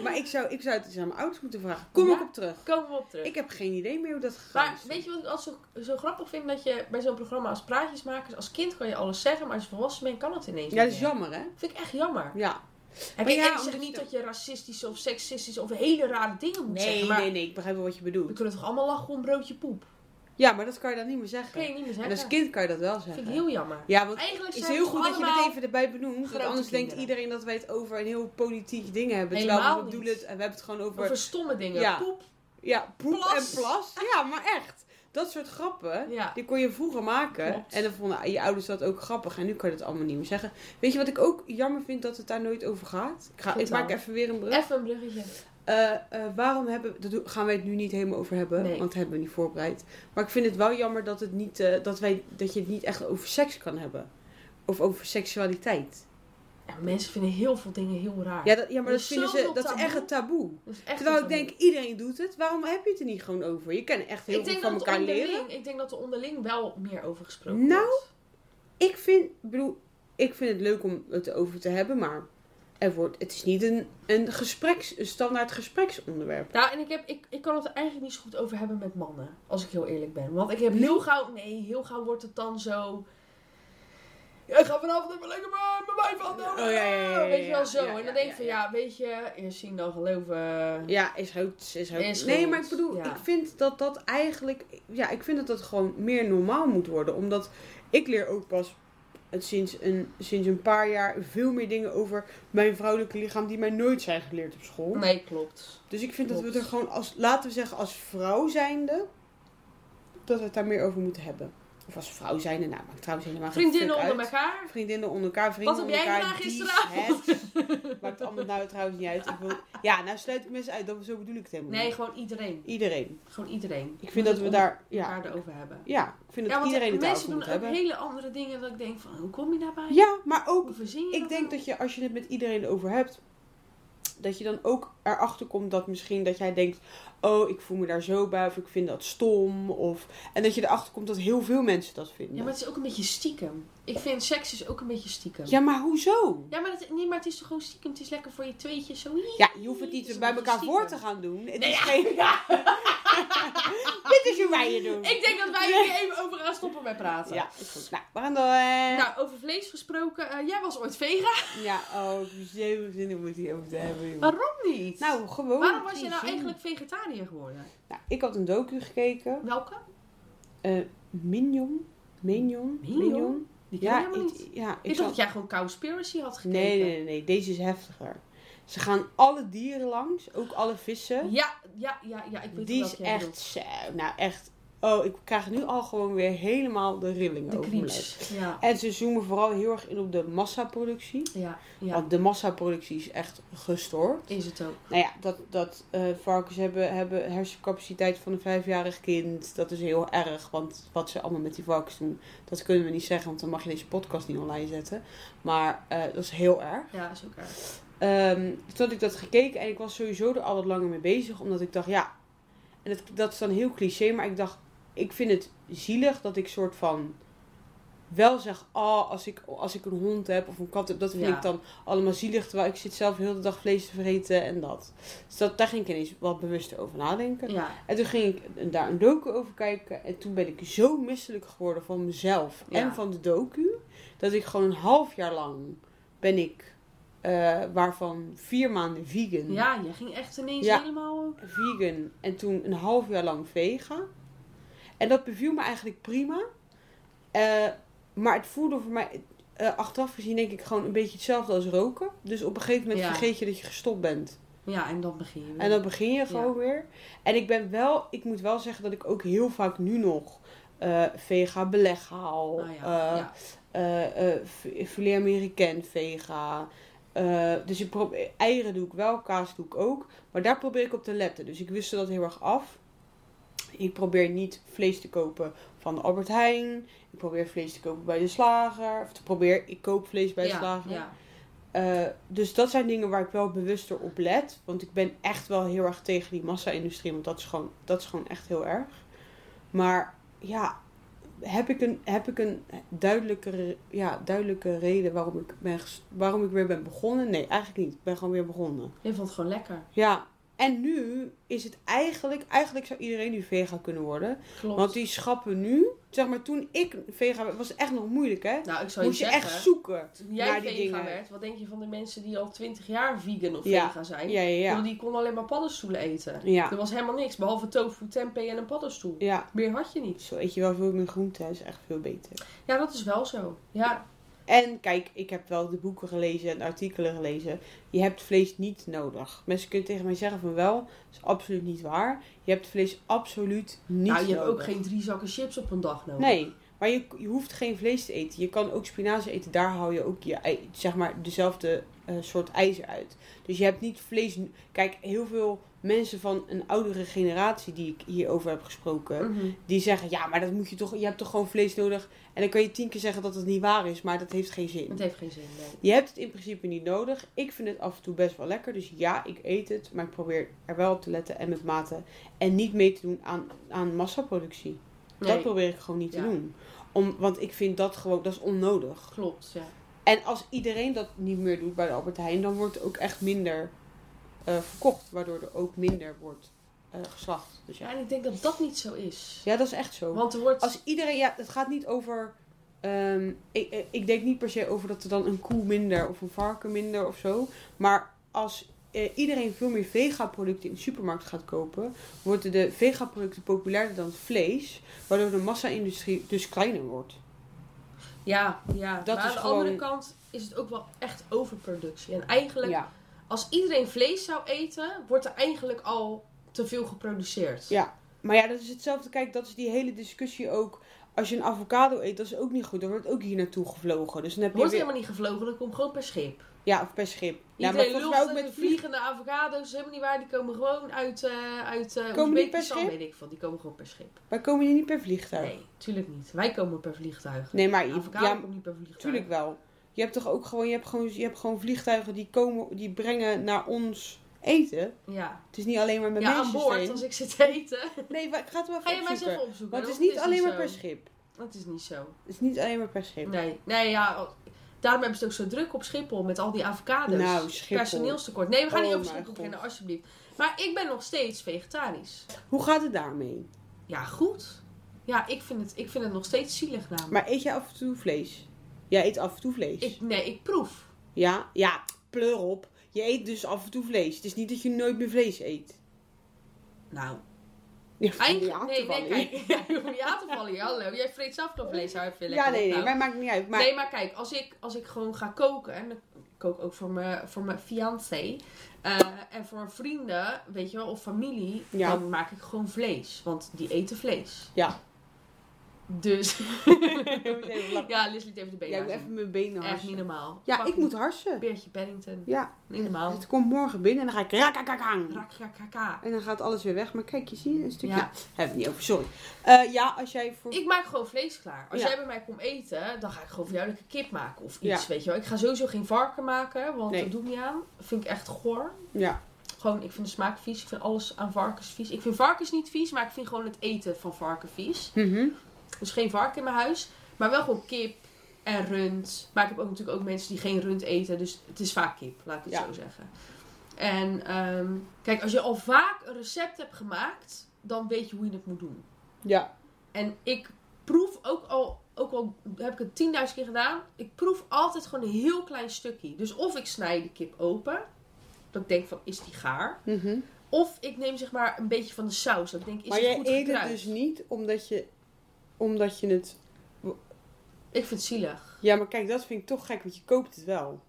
Maar ik zou, ik zou het eens aan mijn ouders moeten vragen. Kom
Ja?
ik op terug.
Komen we op terug.
Ik heb geen idee meer hoe dat gegaan
maar
is.
weet je wat ik altijd zo, zo grappig vind? Dat je bij zo'n programma als Praatjesmakers, als kind kan je alles zeggen, maar als je volwassen bent kan dat ineens
ja,
niet
dat is
meer.
jammer, hè?
Vind ik echt jammer.
Ja.
Heb
Maar
je
ja,
ik zeg
omdat
niet
je-
dat je racistische of seksistische of hele rare dingen moet zeggen.
Nee,
Maar
nee, nee. Ik begrijp wel wat je
we
bedoelt.
kunnen toch allemaal lachen om een broodje poep?
Ja, maar dat kan je dan niet meer
Dat kan
zeggen.
je niet meer
En
zeggen.
als kind kan je dat wel
Dat
zeggen.
vind ik heel jammer.
Ja, want
Eigenlijk
het is
zijn
heel
we
goed dat je het
allemaal-
even erbij benoemt. Want
grote
anders denkt
kinderen.
iedereen dat wij het over een heel politiek ding hebben. terwijl we
Helemaal
bedoelen
niet.
het, we hebben het gewoon over,
Over stomme dingen.
Ja.
Poep.
ja, poep
plas.
en plas. Ja, maar echt. Dat soort grappen.
Ja.
Die kon je vroeger maken.
Klopt.
En dan vonden je ouders dat ook grappig. En nu kan je dat allemaal niet meer zeggen. Weet je wat ik ook jammer vind dat het daar nooit over gaat? Ik, ga, ik
Vertel.
maak even weer een brug.
Even een bruggetje.
Eh, eh, waarom hebben... Daar doen- gaan wij het nu niet helemaal over hebben.
Nee.
Want dat hebben we niet voorbereid. Maar ik vind het wel jammer dat, het niet, eh, dat, wij, dat je het niet echt over seks kan hebben. Of over seksualiteit.
Ja, mensen vinden heel veel dingen heel raar.
Ja, dat, ja maar
Er
dat,
is
vinden ze,
zoveel
dat is
taboe.
echt een taboe.
Dat is echt
Terwijl ik
een taboe.
denk, iedereen doet het. Waarom heb je het er niet gewoon over? Je kan echt heel
ik
veel
denk,
van
dat
elkaar
onderling,
leren.
ik denk dat er onderling wel meer over gesproken
Nou,
wordt.
Ik vind, ik bedoel, ik vind het leuk om het over te hebben, maar er wordt, het is niet een, een, gespreks, een standaard gespreksonderwerp.
Nou, en ik, heb, ik, ik kan het er eigenlijk niet zo goed over hebben met mannen. Als ik heel eerlijk ben. Want ik heb heel gauw... Nee, heel gauw wordt het dan zo... Ja, ga vanavond even lekker mijn mijn wijf aan
Oh, ja, ja, ja, ja,
Weet je wel
ja,
zo.
ja,
en dan
ja,
denk ik
ja,
van
ja.
ja, weet je, eerst zien dan geloven.
Ja, is goed. Is goed.
Is
nee,
goed,
maar ik bedoel,
ja.
ik vind dat dat eigenlijk, ja, ik vind dat dat gewoon meer normaal moet worden. Omdat ik leer ook pas het sinds een, sinds een paar jaar veel meer dingen over mijn vrouwelijke lichaam die mij nooit zijn geleerd op school.
Nee, klopt.
Dus ik vind dat we
Klopt.
er gewoon als, laten we zeggen, als vrouw zijnde, dat we het daar meer over moeten hebben. Of als vrouw zijnde, nou, maakt trouwens helemaal geen
Vriendinnen
fuck
onder
uit.
elkaar.
Vriendinnen onder elkaar, vrienden
Wat heb
onder
jij
elkaar.
gedaan
dies,
gisteravond?
hets. Maakt allemaal nou trouwens niet uit. Ik wil, ja, nou sluit ik mensen uit, dat, zo bedoel ik het helemaal
Nee,
niet.
gewoon iedereen.
Iedereen.
Gewoon iedereen.
Ik vind dat we
het
daar,
onder
ja,
elkaar erover hebben.
ja, ik vind dat
Ja, want
iedereen het daarover
mensen doen
moet
ook
hebben.
hele andere dingen dat ik denk van, hoe kom je daarbij?
Ja, maar ook,
Hoe verzin je
ik denk
nou?
dat je als je het met iedereen over hebt, dat je dan ook erachter komt dat misschien dat jij denkt, oh, ik voel me daar zo bij, of ik vind dat stom, of... En dat je erachter komt dat heel veel mensen dat vinden.
Ja, maar het is ook een beetje stiekem. Ik vind seks is ook een beetje stiekem.
Ja, maar hoezo?
Ja, maar, het, nee, maar het is toch gewoon stiekem. Het is lekker voor je tweetjes. Zo.
Ja, je hoeft het niet
Het is
bij
een beetje
elkaar voor te
stiekem.
gaan doen. Het
Nee,
is
<laughs>
geen... <laughs> Dit is hoe wij je doen.
Ik denk dat wij hier even over gaan stoppen met praten.
Ja, is goed. Nou, we gaan door. eh.
Nou, over vlees gesproken. eh, jij was ooit vegan.
Ja, oh, ik heb zoveel zin om het hierover te hebben. joh.
Waarom niet?
Nou, gewoon.
Waarom was je
geen
nou
zin.
eigenlijk vegetariër geworden?
Nou, ik had een docu gekeken.
Welke?
eh Minion. Minion.
Minion? Die ken ik
Ja,
helemaal
ik,
niet. Ik,
ja, ik
dacht
zal-
dat jij gewoon Cowspiracy had gekeken.
nee, nee, nee, nee. Deze is heftiger. Ze gaan alle dieren langs, ook alle vissen.
Ja, ja, ja, ja. Ik weet
Die
wel
is
welke jij
echt zo. Nou, echt. Oh, ik krijg nu al gewoon weer helemaal de rillingen
bedoelt.
over
De
mijn lijf.
creeps. Ja,
En ze zoomen vooral heel erg in op de massaproductie.
ja, ja.
Want de massaproductie is echt gestoord.
Is het ook.
Nou ja, dat, dat eh, varkens hebben, hebben hersencapaciteit van een vijfjarig kind. Dat is heel erg, want wat ze allemaal met die varkens doen, dat kunnen we niet zeggen, want dan mag je deze podcast niet online zetten. Maar eh, dat is heel erg.
Ja, is ook erg.
Ehm, toen had ik dat gekeken en ik was sowieso er al wat langer mee bezig, omdat ik dacht, ja, en dat, dat is dan heel cliché, maar ik dacht, ik vind het zielig dat ik soort van wel zeg, ah, als, ik, als ik een hond heb of een kat heb, dat vind
Ja.
ik dan allemaal zielig, terwijl ik zit zelf heel de dag vlees te vreten en dat. Dus dat, daar ging ik ineens wat bewuster over nadenken.
Ja,
En toen ging ik een- daar een docu over kijken. En toen ben ik zo misselijk geworden van mezelf
Ja.
en van de docu. Dat ik gewoon een half jaar lang ben ik eh, waarvan vier maanden vegan.
Ja, je ging echt ineens
Ja.
helemaal...
vegan en toen een half jaar lang vegan. En dat beviel me eigenlijk prima. Eh, maar het voelde voor mij, eh, achteraf gezien, denk ik gewoon een beetje hetzelfde als roken. Dus op een gegeven moment
Ja.
vergeet je dat je gestopt bent.
Ja, en dan begin je weer.
En dan begin je gewoon weer. En ik ben wel, ik moet wel zeggen dat ik ook heel vaak nu nog eh vega beleg haal.
Nou ja,
eh,
ja.
eh eh, v- filet americain vega. Eh, dus ik probeer, eieren doe ik wel, kaas doe ik ook. Maar daar probeer ik op te letten. Dus ik wissel dat heel erg af. Ik probeer niet vlees te kopen van de Albert Heijn. Ik probeer vlees te kopen bij de slager. Of te probeer, ik koop vlees bij de
ja,
slager.
ja.
Eh, dus dat zijn dingen waar ik wel bewuster op let. Want ik ben echt wel heel erg tegen die massa-industrie. Want dat is, gewoon, dat is gewoon echt heel erg. Maar ja, heb ik een, heb ik een duidelijke, ja, duidelijke reden waarom ik, ben, ges- waarom ik weer ben begonnen? Nee, eigenlijk niet. Ik ben gewoon weer begonnen.
Je vond het gewoon lekker.
Ja, en nu is het eigenlijk... Eigenlijk zou iedereen nu vega kunnen worden.
Klopt.
Want die schappen nu... Zeg maar, toen ik vega werd, was het echt nog moeilijk, hè?
nou, ik zou
Moest je
zeggen,
echt zoeken.
toen jij
naar die
vegan
dingen.
werd, wat denk je van de mensen die al 20 jaar vegan of
Ja,
vegan zijn?
Ja, ja,
Ik bedoel,
ja.
Die konden alleen maar paddenstoelen eten.
Ja.
Er was helemaal niks, behalve tofu, tempeh en een paddenstoel.
Ja,
Meer had je niet.
Zo eet Dus je wel veel meer groenten, dat is echt veel beter.
Ja, dat is wel zo. Ja,
En kijk, ik heb wel de boeken gelezen en artikelen gelezen. Je hebt vlees niet nodig. Mensen kunnen tegen mij zeggen van wel, dat is absoluut niet waar. Je hebt vlees absoluut niet
nou, je hebt ook
nodig.
geen drie zakken chips op een dag nodig.
Nee, maar je, je hoeft geen vlees te eten. Je kan ook spinazie eten, daar hou je ook je, ei- zeg maar, dezelfde eh, soort ijzer uit. Dus je hebt niet vlees... Kijk, heel veel mensen van een oudere generatie die ik hierover heb gesproken...
Mhm.
die zeggen, ja, maar dat moet je toch, je hebt toch gewoon vlees nodig. En dan kan je tien keer zeggen dat het niet waar is, maar dat heeft geen
Het
zin.
heeft geen zin, nee.
Je hebt het in principe niet nodig. Ik vind het af en toe best wel lekker, dus ja, ik eet het, maar ik probeer er wel op te letten en met mate. En niet mee te doen aan, aan massaproductie. Dat
Nee,
probeer ik gewoon niet
Ja.
te doen. Om, want ik vind dat gewoon, dat is onnodig.
klopt, ja.
En als iedereen dat niet meer doet bij de Albert Heijn, dan wordt er ook echt minder eh, verkocht. Waardoor er ook minder wordt eh, geslacht. Dus
Ja,
ja.
en ik denk dat dat niet zo is.
ja, dat is echt zo.
Want er wordt...
Als iedereen, ja, het gaat niet over. ehm, ik, ik- ik denk niet per se over dat er dan een koe minder of een varken minder of zo. Maar als eh, iedereen veel meer vega-producten in de supermarkt gaat kopen, worden de vega-producten populairder dan het vlees, waardoor de massa-industrie dus kleiner wordt.
Ja, ja.
Dat
maar
is
aan de
gewoon-
andere kant is het ook wel echt overproductie. En eigenlijk,
Ja,
als iedereen vlees zou eten, wordt er eigenlijk al te veel geproduceerd.
Ja. maar ja, dat is hetzelfde. Kijk, dat is die hele discussie ook. Als je een avocado eet, dat is ook niet goed. Dan wordt ook hier naartoe gevlogen. Dus dan heb
Er
je
wordt
weer...
helemaal niet gevlogen, dat komt gewoon per schip.
Ja, of per schip. Ja, maar
Iedereen
volgens
lult
mij ook
dat
met
de
vliegen.
vliegende avocado's, dat is helemaal niet waar. Die komen gewoon uit, eh uit eh
Komen die per
Oezbekistan,
schip?
weet ik veel. Die komen gewoon per schip.
Maar komen die niet per vliegtuig?
Nee, tuurlijk niet. Wij komen per vliegtuig.
Nee, maar
De avocado
ja,
komt niet per vliegtuig.
Tuurlijk wel. Je hebt toch ook gewoon, je hebt gewoon, je hebt gewoon vliegtuigen die komen, die brengen naar ons eten.
Ja,
Het is niet alleen maar met
ja aan
mensen
boord als ik zit te eten. <laughs>
Nee, wa- ik ga het wel
Ga
even
je mij eens
opzoeken.
even opzoeken.
Want het is
hoor.
niet alleen maar
zo.
per schip.
Dat is niet zo.
Het is niet alleen maar per schip.
Nee, nee ja, oh, daarom hebben ze het ook zo druk op Schiphol met al die avocado's.
Nou, Schiphol.
Personeelstekort. Nee, we gaan
Oh
niet over
mijn
Schiphol
God.
beginnen, alsjeblieft. Maar ik ben nog steeds vegetarisch.
Hoe gaat het daarmee?
Ja, goed. Ja, ik vind het, ik vind het nog steeds zielig namelijk.
Maar eet je af en toe vlees? Jij eet af en toe vlees.
Ik, nee, ik proef.
Ja, ja, pleur op. Je eet dus af en toe vlees. Het is niet dat je nooit meer vlees eet.
Nou,
Ja, van die
eigenlijk...
hand
Nee,
ervan, hè?
nee, kijk. <laughs> Ja, je hoeft niet aan te vallen hier. Hallo, jij vreet zelf nog vlees uit.
Ja, nee,
nou.
nee, maar maakt niet uit. Maar
Nee, maar kijk, als ik, als ik gewoon ga koken, en ik kook ook voor mijn, voor mijn fiancé, eh, en voor vrienden, weet je wel, of familie,
Ja.
dan maak ik gewoon vlees. Want die eten vlees.
Ja. <laughs>
Dus,
ik moet even lachen.
ja, Leslie heeft de benen
Ja, ik
uit.
moet even mijn benen
Echt niet
harsen.
normaal.
Ja,
Pak
ik moet harsen.
Beertje Paddington.
Ja,
Niet normaal.
Het komt morgen binnen en dan ga ik rakakakang.
Rak, rak, rak, rak.
En dan gaat alles weer weg. Maar kijk, je ziet een stukje.
Ja.
Hebben we niet over, sorry. Eh, ja, als jij voor.
Ik maak gewoon vlees klaar. Als
Ja.
jij bij mij komt eten, dan ga ik gewoon voor jou lekker kip maken of
Ja.
iets, weet je wel. Ik ga sowieso geen varken maken, want
Nee.
dat doe ik niet aan. vind ik echt goor.
Ja,
Gewoon, ik vind de smaak vies. Ik vind alles aan varkens vies. Ik vind varkens niet vies, maar ik vind gewoon het eten van varken vies.
Mhm.
Dus geen varken in mijn huis. Maar wel gewoon kip en rund. Maar ik heb ook natuurlijk ook mensen die geen rund eten. Dus het is vaak kip, laat ik het
Ja.
zo zeggen. En ehm, kijk, als je al vaak een recept hebt gemaakt, dan weet je hoe je het moet doen.
ja,
En ik proef ook al ook al heb ik het 10.000 keer gedaan, ik proef altijd gewoon een heel klein stukje. Dus of ik snij de kip open, dat ik denk van, is die gaar?
Mhm.
Of ik neem zeg maar een beetje van de saus, dat ik denk, is
Maar
die
jij
goed
eet het
gekruid?
dus niet omdat je, omdat je het...
Ik vind het zielig.
Ja, maar kijk, dat vind ik toch gek, want je koopt het wel.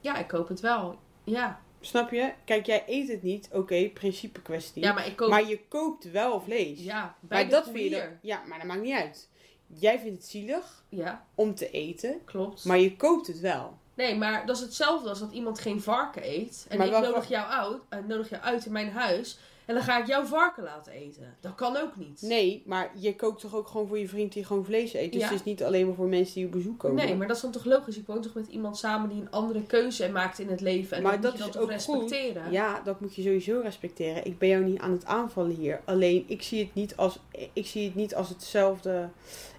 Ja, ik koop het wel. Ja,
Snap je? Kijk, jij eet het niet. Oké, principe kwestie.
ja maar ik koop...
Maar je koopt wel vlees.
ja, bij
maar
de
dat vind je
koelier.
dan- Ja, maar dat maakt niet uit. Jij vindt het zielig
Ja,
om te eten,
klopt.
maar je koopt het wel.
Nee, maar dat is hetzelfde als dat iemand geen varken eet. En
Maar
ik
wel-
nodig jou, uit, eh, nodig jou uit in mijn huis. En dan ga ik jouw varken laten eten. Dat kan ook niet.
Nee, maar je kookt toch ook gewoon voor je vriend die gewoon vlees eet. Dus
Ja.
het is niet alleen maar voor mensen die op bezoek komen.
Nee, maar dat is dan toch logisch? Ik woon toch met iemand samen die een andere keuze maakt in het leven. En
Maar
dan
dat
moet je dat
is
toch
ook
respecteren.
Ja, dat moet je sowieso respecteren. Ik ben jou niet aan het aanvallen hier. Alleen ik zie het niet als, ik zie het niet als hetzelfde.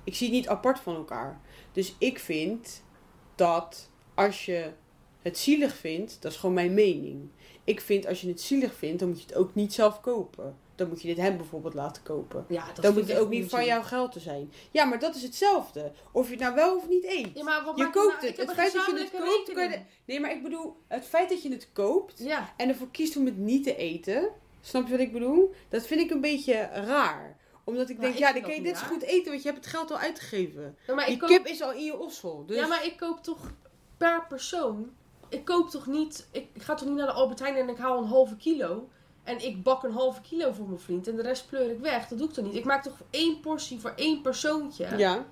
Ik zie het niet apart van elkaar. Dus ik vind dat als je het zielig vindt, dat is gewoon mijn mening. Ik vind als je het zielig vindt, dan moet je het ook niet zelf kopen. Dan moet je dit hem bijvoorbeeld laten kopen.
Ja, dat
dan
vind
moet
ik
het
echt
ook niet van
onzin.
jouw geld te zijn. Ja Ja, maar dat is hetzelfde. Of je het nou wel of niet eet.
Ja, maar wat
Je
maakt nou-
koopt het.
Ik heb
Het
een
feit dat je het
gezamenlijke
koopt, kan je
rekening.
Nee, maar ik bedoel, het feit dat je het koopt,
Ja,
en ervoor kiest om het niet te eten. Snap je wat ik bedoel? Dat vind ik een beetje raar. Omdat ik
Nou,
denk,
ik
ja, dan
vind dat
kan je
niet
dit zo
raar.
goed eten, want je hebt het geld al uitgegeven.
Ja, maar
Die
ik koop,
kip is al in je ossel. Dus...
ja, maar ik koop toch per persoon. Ik koop toch niet. Ik, ik ga toch niet naar de Albert Heijn en ik haal een halve kilo. En ik bak een halve kilo voor mijn vriend. En de rest pleur ik weg. Dat doe ik toch niet? Ik maak toch één portie voor één persoontje.
ja.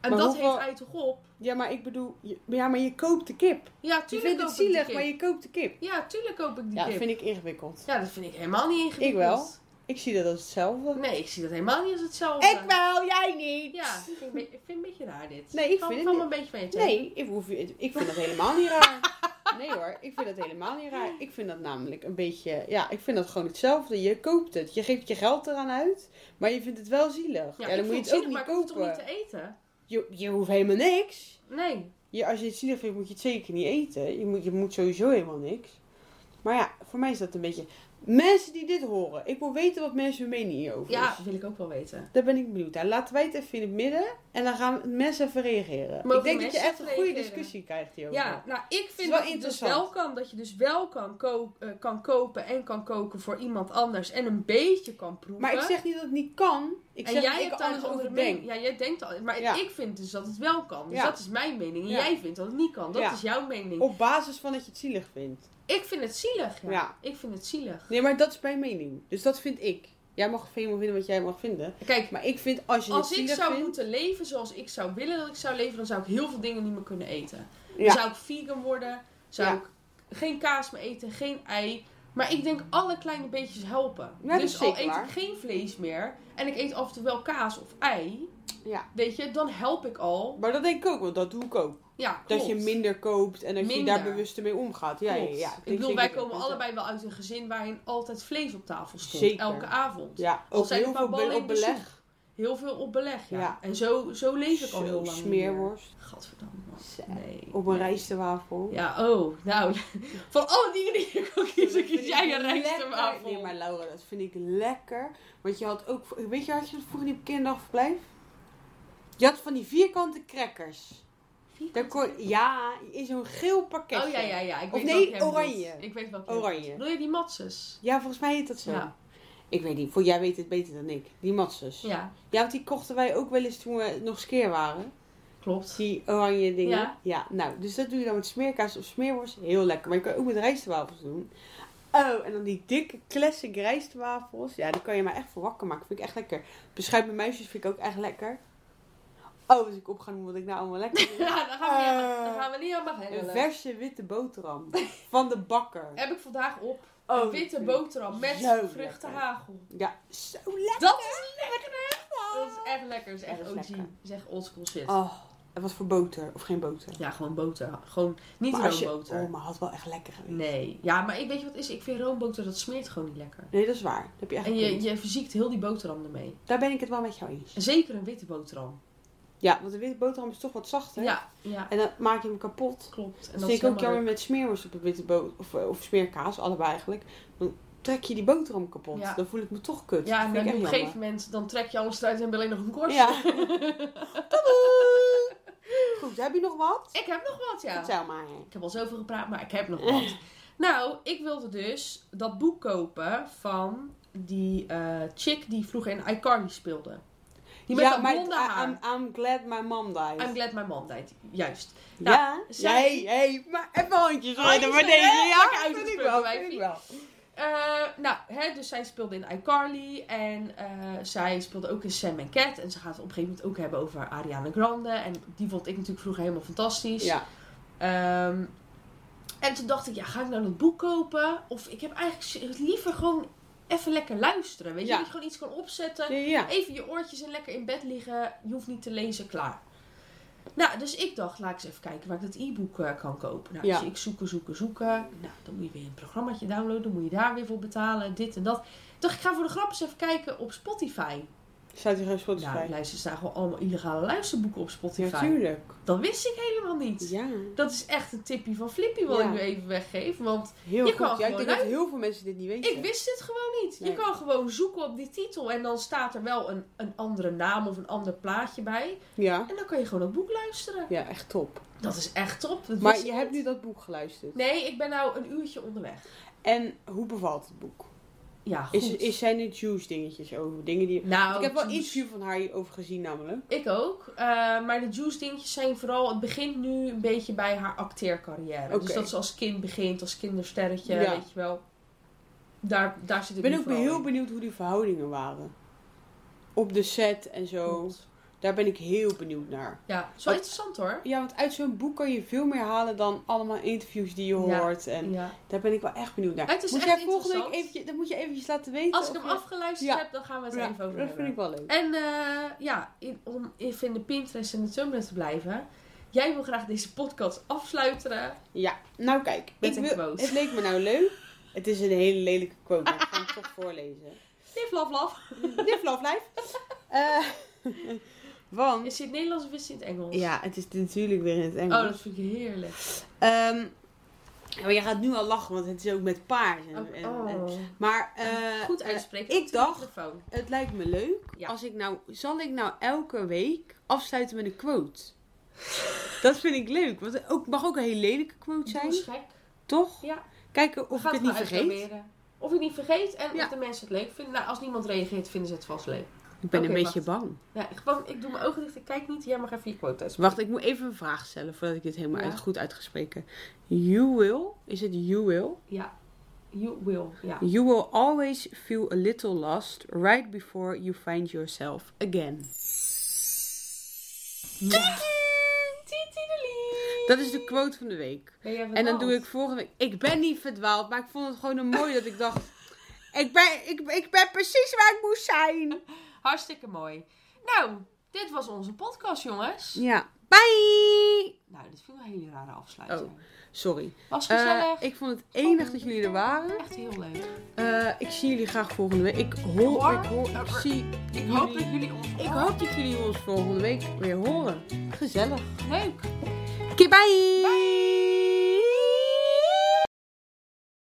en
maar
dat
hoeveel-
heeft hij toch op?
Ja, maar ik bedoel, je- ja, maar je koopt de kip.
Ja,
Je
tuurlijk
vindt het
koop ik die
zielig,
kip.
maar je koopt de kip.
Ja, tuurlijk koop ik die
Ja,
kip.
dat vind ik ingewikkeld.
Ja, dat vind ik helemaal niet ingewikkeld.
Ik wel. Ik zie dat als hetzelfde.
Nee, ik zie dat helemaal niet als hetzelfde.
Ik wel, jij niet.
Ja, ik vind, het een be- ik vind het een beetje raar dit.
Nee, ik
Val-
vind het
val me
niet-
een beetje van je tegen.
Nee, ik, hoef, ik vind dat helemaal niet
<laughs>
raar. Nee hoor, ik vind dat helemaal niet raar. Ik vind dat namelijk een beetje, ja, ik vind dat gewoon hetzelfde. Je koopt het, je geeft je geld eraan uit, maar je vindt het wel zielig. Ja,
ik
dan moet je
vind
het ook
zielig,
niet
maar ik hoef het
kopen.
toch niet te eten?
Je, je hoeft helemaal niks.
Nee.
Je, als je het zielig vindt, moet je het zeker niet eten. Je moet, je moet sowieso helemaal niks. Maar ja, voor mij is dat een beetje... Mensen die dit horen, ik wil weten wat mensen hun mening hierover
Ja,
is.
dat wil ik ook wel weten.
Daar ben ik benieuwd naar. Laten wij het even in het midden en dan gaan mensen even reageren.
Mogen
ik denk dat je
mensen
echt een
even
goede
reageren?
discussie krijgt hierover.
Ja, nou ik
is
vind
wel
dat je dus
interessant.
wel kan. Dat je dus wel kan, ko- eh, kan kopen en kan koken voor iemand anders. En een beetje kan proeven.
Maar ik zeg niet dat het niet kan. Ik
en
zeg dat
jij
ik
hebt
er
daar
anders
een andere
over denk.
mening. Ja, jij denkt al. Maar
Ja.
ik vind dus dat het wel kan. Dus
Ja.
dat is mijn mening. En
Ja.
jij vindt dat het niet kan. Dat
Ja.
is jouw mening.
Op basis van dat je het zielig vindt.
Ik vind het zielig. Ja.
Ja.
Ik vind het zielig.
Nee, maar dat is mijn mening. Dus dat vind ik. Jij mag helemaal vinden wat jij mag vinden.
Kijk,
Maar ik vind als je
als
het
ik
zielig
zou
vindt...
moeten leven zoals ik zou willen dat ik zou leven, dan zou ik heel veel dingen niet meer kunnen eten. Dan
Ja.
zou ik vegan worden, zou
Ja.
ik geen kaas meer eten, geen ei. Maar ik denk alle kleine beetjes helpen.
Ja, dat is
dus al
zeker
eet
waar.
ik geen vlees meer en ik eet af en toe wel kaas of ei,
Ja.
weet je, dan help ik al.
Maar dat denk ik ook, want dat doe ik ook.
Ja, klopt.
Dat je minder koopt en dat je
Minder.
daar bewuster mee omgaat. Ja, ja, ja,
Klopt.
ja.
Ik bedoel,
denk
wij
zeker dat
komen
dat-
allebei wel uit een gezin waarin altijd vlees op tafel stond.
Zeker.
Elke avond.
Ja,
Al
ook
zijn
heel
er maar
veel
ballen
be- op
in bezoek.
beleg.
Heel veel op beleg, ja.
Ja.
En zo, zo leef ik al
Zo,
heel lang. niet meer.
smeerworst.
Gadverdamme.
Zeg,
Nee.
Op een
nee.
rijstewafel.
Ja, oh, nou, <laughs> van alle dingen <laughs> die ik ook kies, dan kies jij een
Lekker.
rijstwafel.
Nee, maar Laura, dat vind ik lekker. Want je had ook... Weet je, had je dat vroeger niet op kinderdagverblijf? Je had van die vierkante crackers. Daar kon, ja, in zo'n geel pakketje.
Oh ja, ja, ja. Ik
Of
weet
nee,
welke jij bedoelt.
oranje.
Ik weet welke. jij bedoelt.
Oranje.
Wil je die matses?
Ja, volgens mij heet dat zo.
Ja.
Ik weet niet, voor jij weet het beter dan ik. Die matzes. Ja.
Ja,
want die kochten wij ook wel eens toen we nog skeer waren.
klopt.
Die oranje dingen.
Ja.
nou, dus dat doe je dan met smeerkaas of smeerworst. Heel lekker. Maar je kan ook met rijstwafels doen. Oh, en dan die dikke classic rijstwafels. Ja, die kan je mij echt voor wakker maken. Vind ik echt lekker. Beschuit met muisjes vind ik ook echt lekker. Oh, als ik op ga noemen wat ik nou allemaal lekker
<laughs>
vind.
<laughs> Ja, dan gaan we niet,
Eh,
aan- dan gaan we niet allemaal
Een
handelen.
verse witte boterham. Van de bakker.
Heb ik vandaag op
Oh,
een witte boterham met
zo lekker.
vruchtenhagel.
Ja, zo lekker.
Dat is lekker, Dat is echt lekker. Dat is echt
Dat is
OG.
lekker.
Dat is echt oldschool shit.
Oh, en wat voor boter? Of geen boter?
Ja, gewoon boter. Gewoon niet
Maar als je-
roomboter.
Oh, maar had wel echt lekker geweest. Nee.
Nee. Ja, maar ik weet je wat het is? Ik vind roomboter, dat smeert gewoon niet lekker.
dat is waar. Dat heb je echt
En
een
je,
punt.
je verziekt heel die boterham ermee.
Daar ben ik het wel met jou eens.
Zeker een witte boterham.
Ja, want de witte boterham is toch wat zachter.
Ja, ja,
En dan maak je hem kapot.
klopt. En
Dat
dat
vind
is
ik ook
helemaal
jammer met smeerworst op een witte boter. Of, eh, of smeerkaas, allebei eigenlijk. Dan trek je die boterham kapot.
Ja.
Dan voel ik me toch kut.
Ja, en
dat vind
dan
ik
op een
echt
gegeven
jammer.
moment dan trek je alles eruit en heb je alleen nog een korst.
Ja.
<laughs>
Tadaa! Goed, heb je nog wat?
Ik heb nog wat, ja.
Vertel maar.
Ik heb al zoveel gepraat, maar ik heb nog
<laughs>
wat. nou, ik wilde dus dat boek kopen van die eh, chick die vroeger in iCarly speelde. Die met
ja,
dat
maar
blonde
I-
haar.
I'm, I'm glad my mom died.
I'm glad my mom died. Juist. Nou,
ja,
zij- Oh,
hey, hey, maar even handjes rijden
Handjes
maar deze.
rijden, lekker
Ja, vind ik
uitgesproken,
wel,
wijfie.
vind ik wel.
Eh, nou, hè, dus zij speelde in iCarly en eh, zij speelde ook in Sam en Cat. En ze gaat het op een gegeven moment ook hebben over Ariana Grande. En die vond ik natuurlijk vroeger helemaal fantastisch.
Ja,
Ehm, en toen dacht ik, ja, ga ik nou dat boek kopen? Of ik heb eigenlijk liever gewoon even lekker luisteren. Weet je,
Ja.
dat je gewoon iets kan opzetten.
ja, ja.
Even je oortjes en lekker in bed liggen. Je hoeft niet te lezen, klaar. Nou, dus ik dacht, laat ik eens even kijken waar ik dat e-book eh, kan kopen. Nou,
Ja.
Dus ik zoeken, zoeken, zoeken. Nou, dan moet je weer een programmaatje downloaden. Dan moet je daar weer voor betalen, dit en dat. Ik dacht, ik ga voor de grap eens even kijken op Spotify.
Staat hier geen Spotify?
Nou, luister, staan gewoon allemaal illegale luisterboeken op
ja,
Spotify.
tuurlijk.
dat wist ik helemaal niet.
Ja,
Dat is echt een tipje van Flippy wat
Ja.
ik nu even weggeef. Want
heel
Je kan
goed. Ja, ik
gewoon
denk dat heel veel mensen dit niet weten.
ik wist dit gewoon niet.
Nee.
Je kan gewoon zoeken op die titel. En dan staat er wel een, een andere naam of een ander plaatje bij.
Ja.
En dan kan je gewoon dat boek luisteren.
ja, echt top.
Dat is echt top. Dat
Maar
wist
je
ik
hebt
niet.
nu dat boek geluisterd.
Nee, ik ben nou een uurtje onderweg.
En hoe bevalt het boek?
Ja, goed.
Is, is, zijn er juice dingetjes over? Dingen die...
Nou,
ik heb wel
Juice-
iets van haar hierover gezien namelijk.
Ik ook. Eh, maar de juice dingetjes zijn vooral... Het begint nu een beetje bij haar acteercarrière.
Oké.
Dus dat ze als kind begint, als kindersterretje,
Ja.
weet je wel. Daar, daar zit
Ik
ik
ben
nu
ook
vooral
heel
in.
benieuwd hoe die verhoudingen waren. Op de set en zo.
Klopt.
Daar ben ik heel benieuwd naar.
Ja, is wel
Wat-
interessant hoor.
Ja, want uit zo'n boek kan je veel meer halen dan allemaal interviews die je
Ja.
hoort. En
Ja.
daar ben ik wel echt benieuwd naar.
Het is
moet
echt
jij volgende week
interessant.
eventjes, dat moet je eventjes laten weten.
Als ik
of
hem
je-
afgeluisterd
Ja.
heb, dan gaan we het
Ja,
even over
dat
hebben.
vind ik wel leuk.
En eh, ja, in- om even in de Pinterest en de Tumblr te blijven. Jij wil graag deze podcast afsluiten.
Ja, nou kijk.
Met
ik
een
wil-
quote.
Het leek me nou leuk. Het is een hele lelijke quote, maar ik ga hem toch
<laughs>
voorlezen.
Lif, laf, laf.
Dit love life. Eh, want...
Is dit Nederlands of is dit Engels?
Ja, het is natuurlijk weer in het Engels.
Oh, dat vind ik heerlijk.
Ehm, maar je gaat nu al lachen, want het is ook met paars. En, en-
Oh,
en-
oh.
maar eh,
Goed
eh,
uitspreken.
ik
op de
dacht-
microfoon.
het lijkt me leuk.
Ja.
Als ik nou, zal ik nou elke week afsluiten met een quote? dat vind ik leuk, want het ook, mag ook een heel lelijke quote
Doe
zijn,
eens gek.
toch?
Ja.
Kijken
We
of ik
gaan
het niet
gewoon
vergeet.
uitproberen. Of ik het niet vergeet en
Ja.
of de mensen het leuk vinden. Nou, als niemand reageert, vinden ze het vast leuk.
Ik ben
Oké,
een beetje bang.
Ja, ik, want ik doe mijn ogen dicht, ik kijk niet. Jij mag even je quote uitspreken.
Wacht, ik moet even een vraag stellen voordat ik dit helemaal
Ja.
uit, goed uitgespreken. You will, is het you will?
Ja. You will. Ja.
You will always feel a little lost right before you find yourself again.
Tietiedelie.
Dat is de quote van de week.
Ben jij
En dan
verdwaald?
doe ik volgende week. Ik ben niet verdwaald, maar ik vond het gewoon een mooi dat ik dacht. Ik ben, ik, ik ben precies waar ik moest zijn.
Hartstikke mooi. Nou, dit was onze podcast, jongens.
Ja. Bye!
Nou, dit vind ik een hele rare afsluiting.
Oh. Sorry.
Was
Eh,
gezellig.
ik vond het enig dat jullie er waren.
Echt heel leuk.
Eh, ik zie jullie graag volgende week. Ik hoor, ik hoor, ik zie.
Ik
Ik
hoop dat
jullie-
jullie ons
Ik hoop dat jullie ons volgende week weer horen. Gezellig.
leuk.
Oké, bye!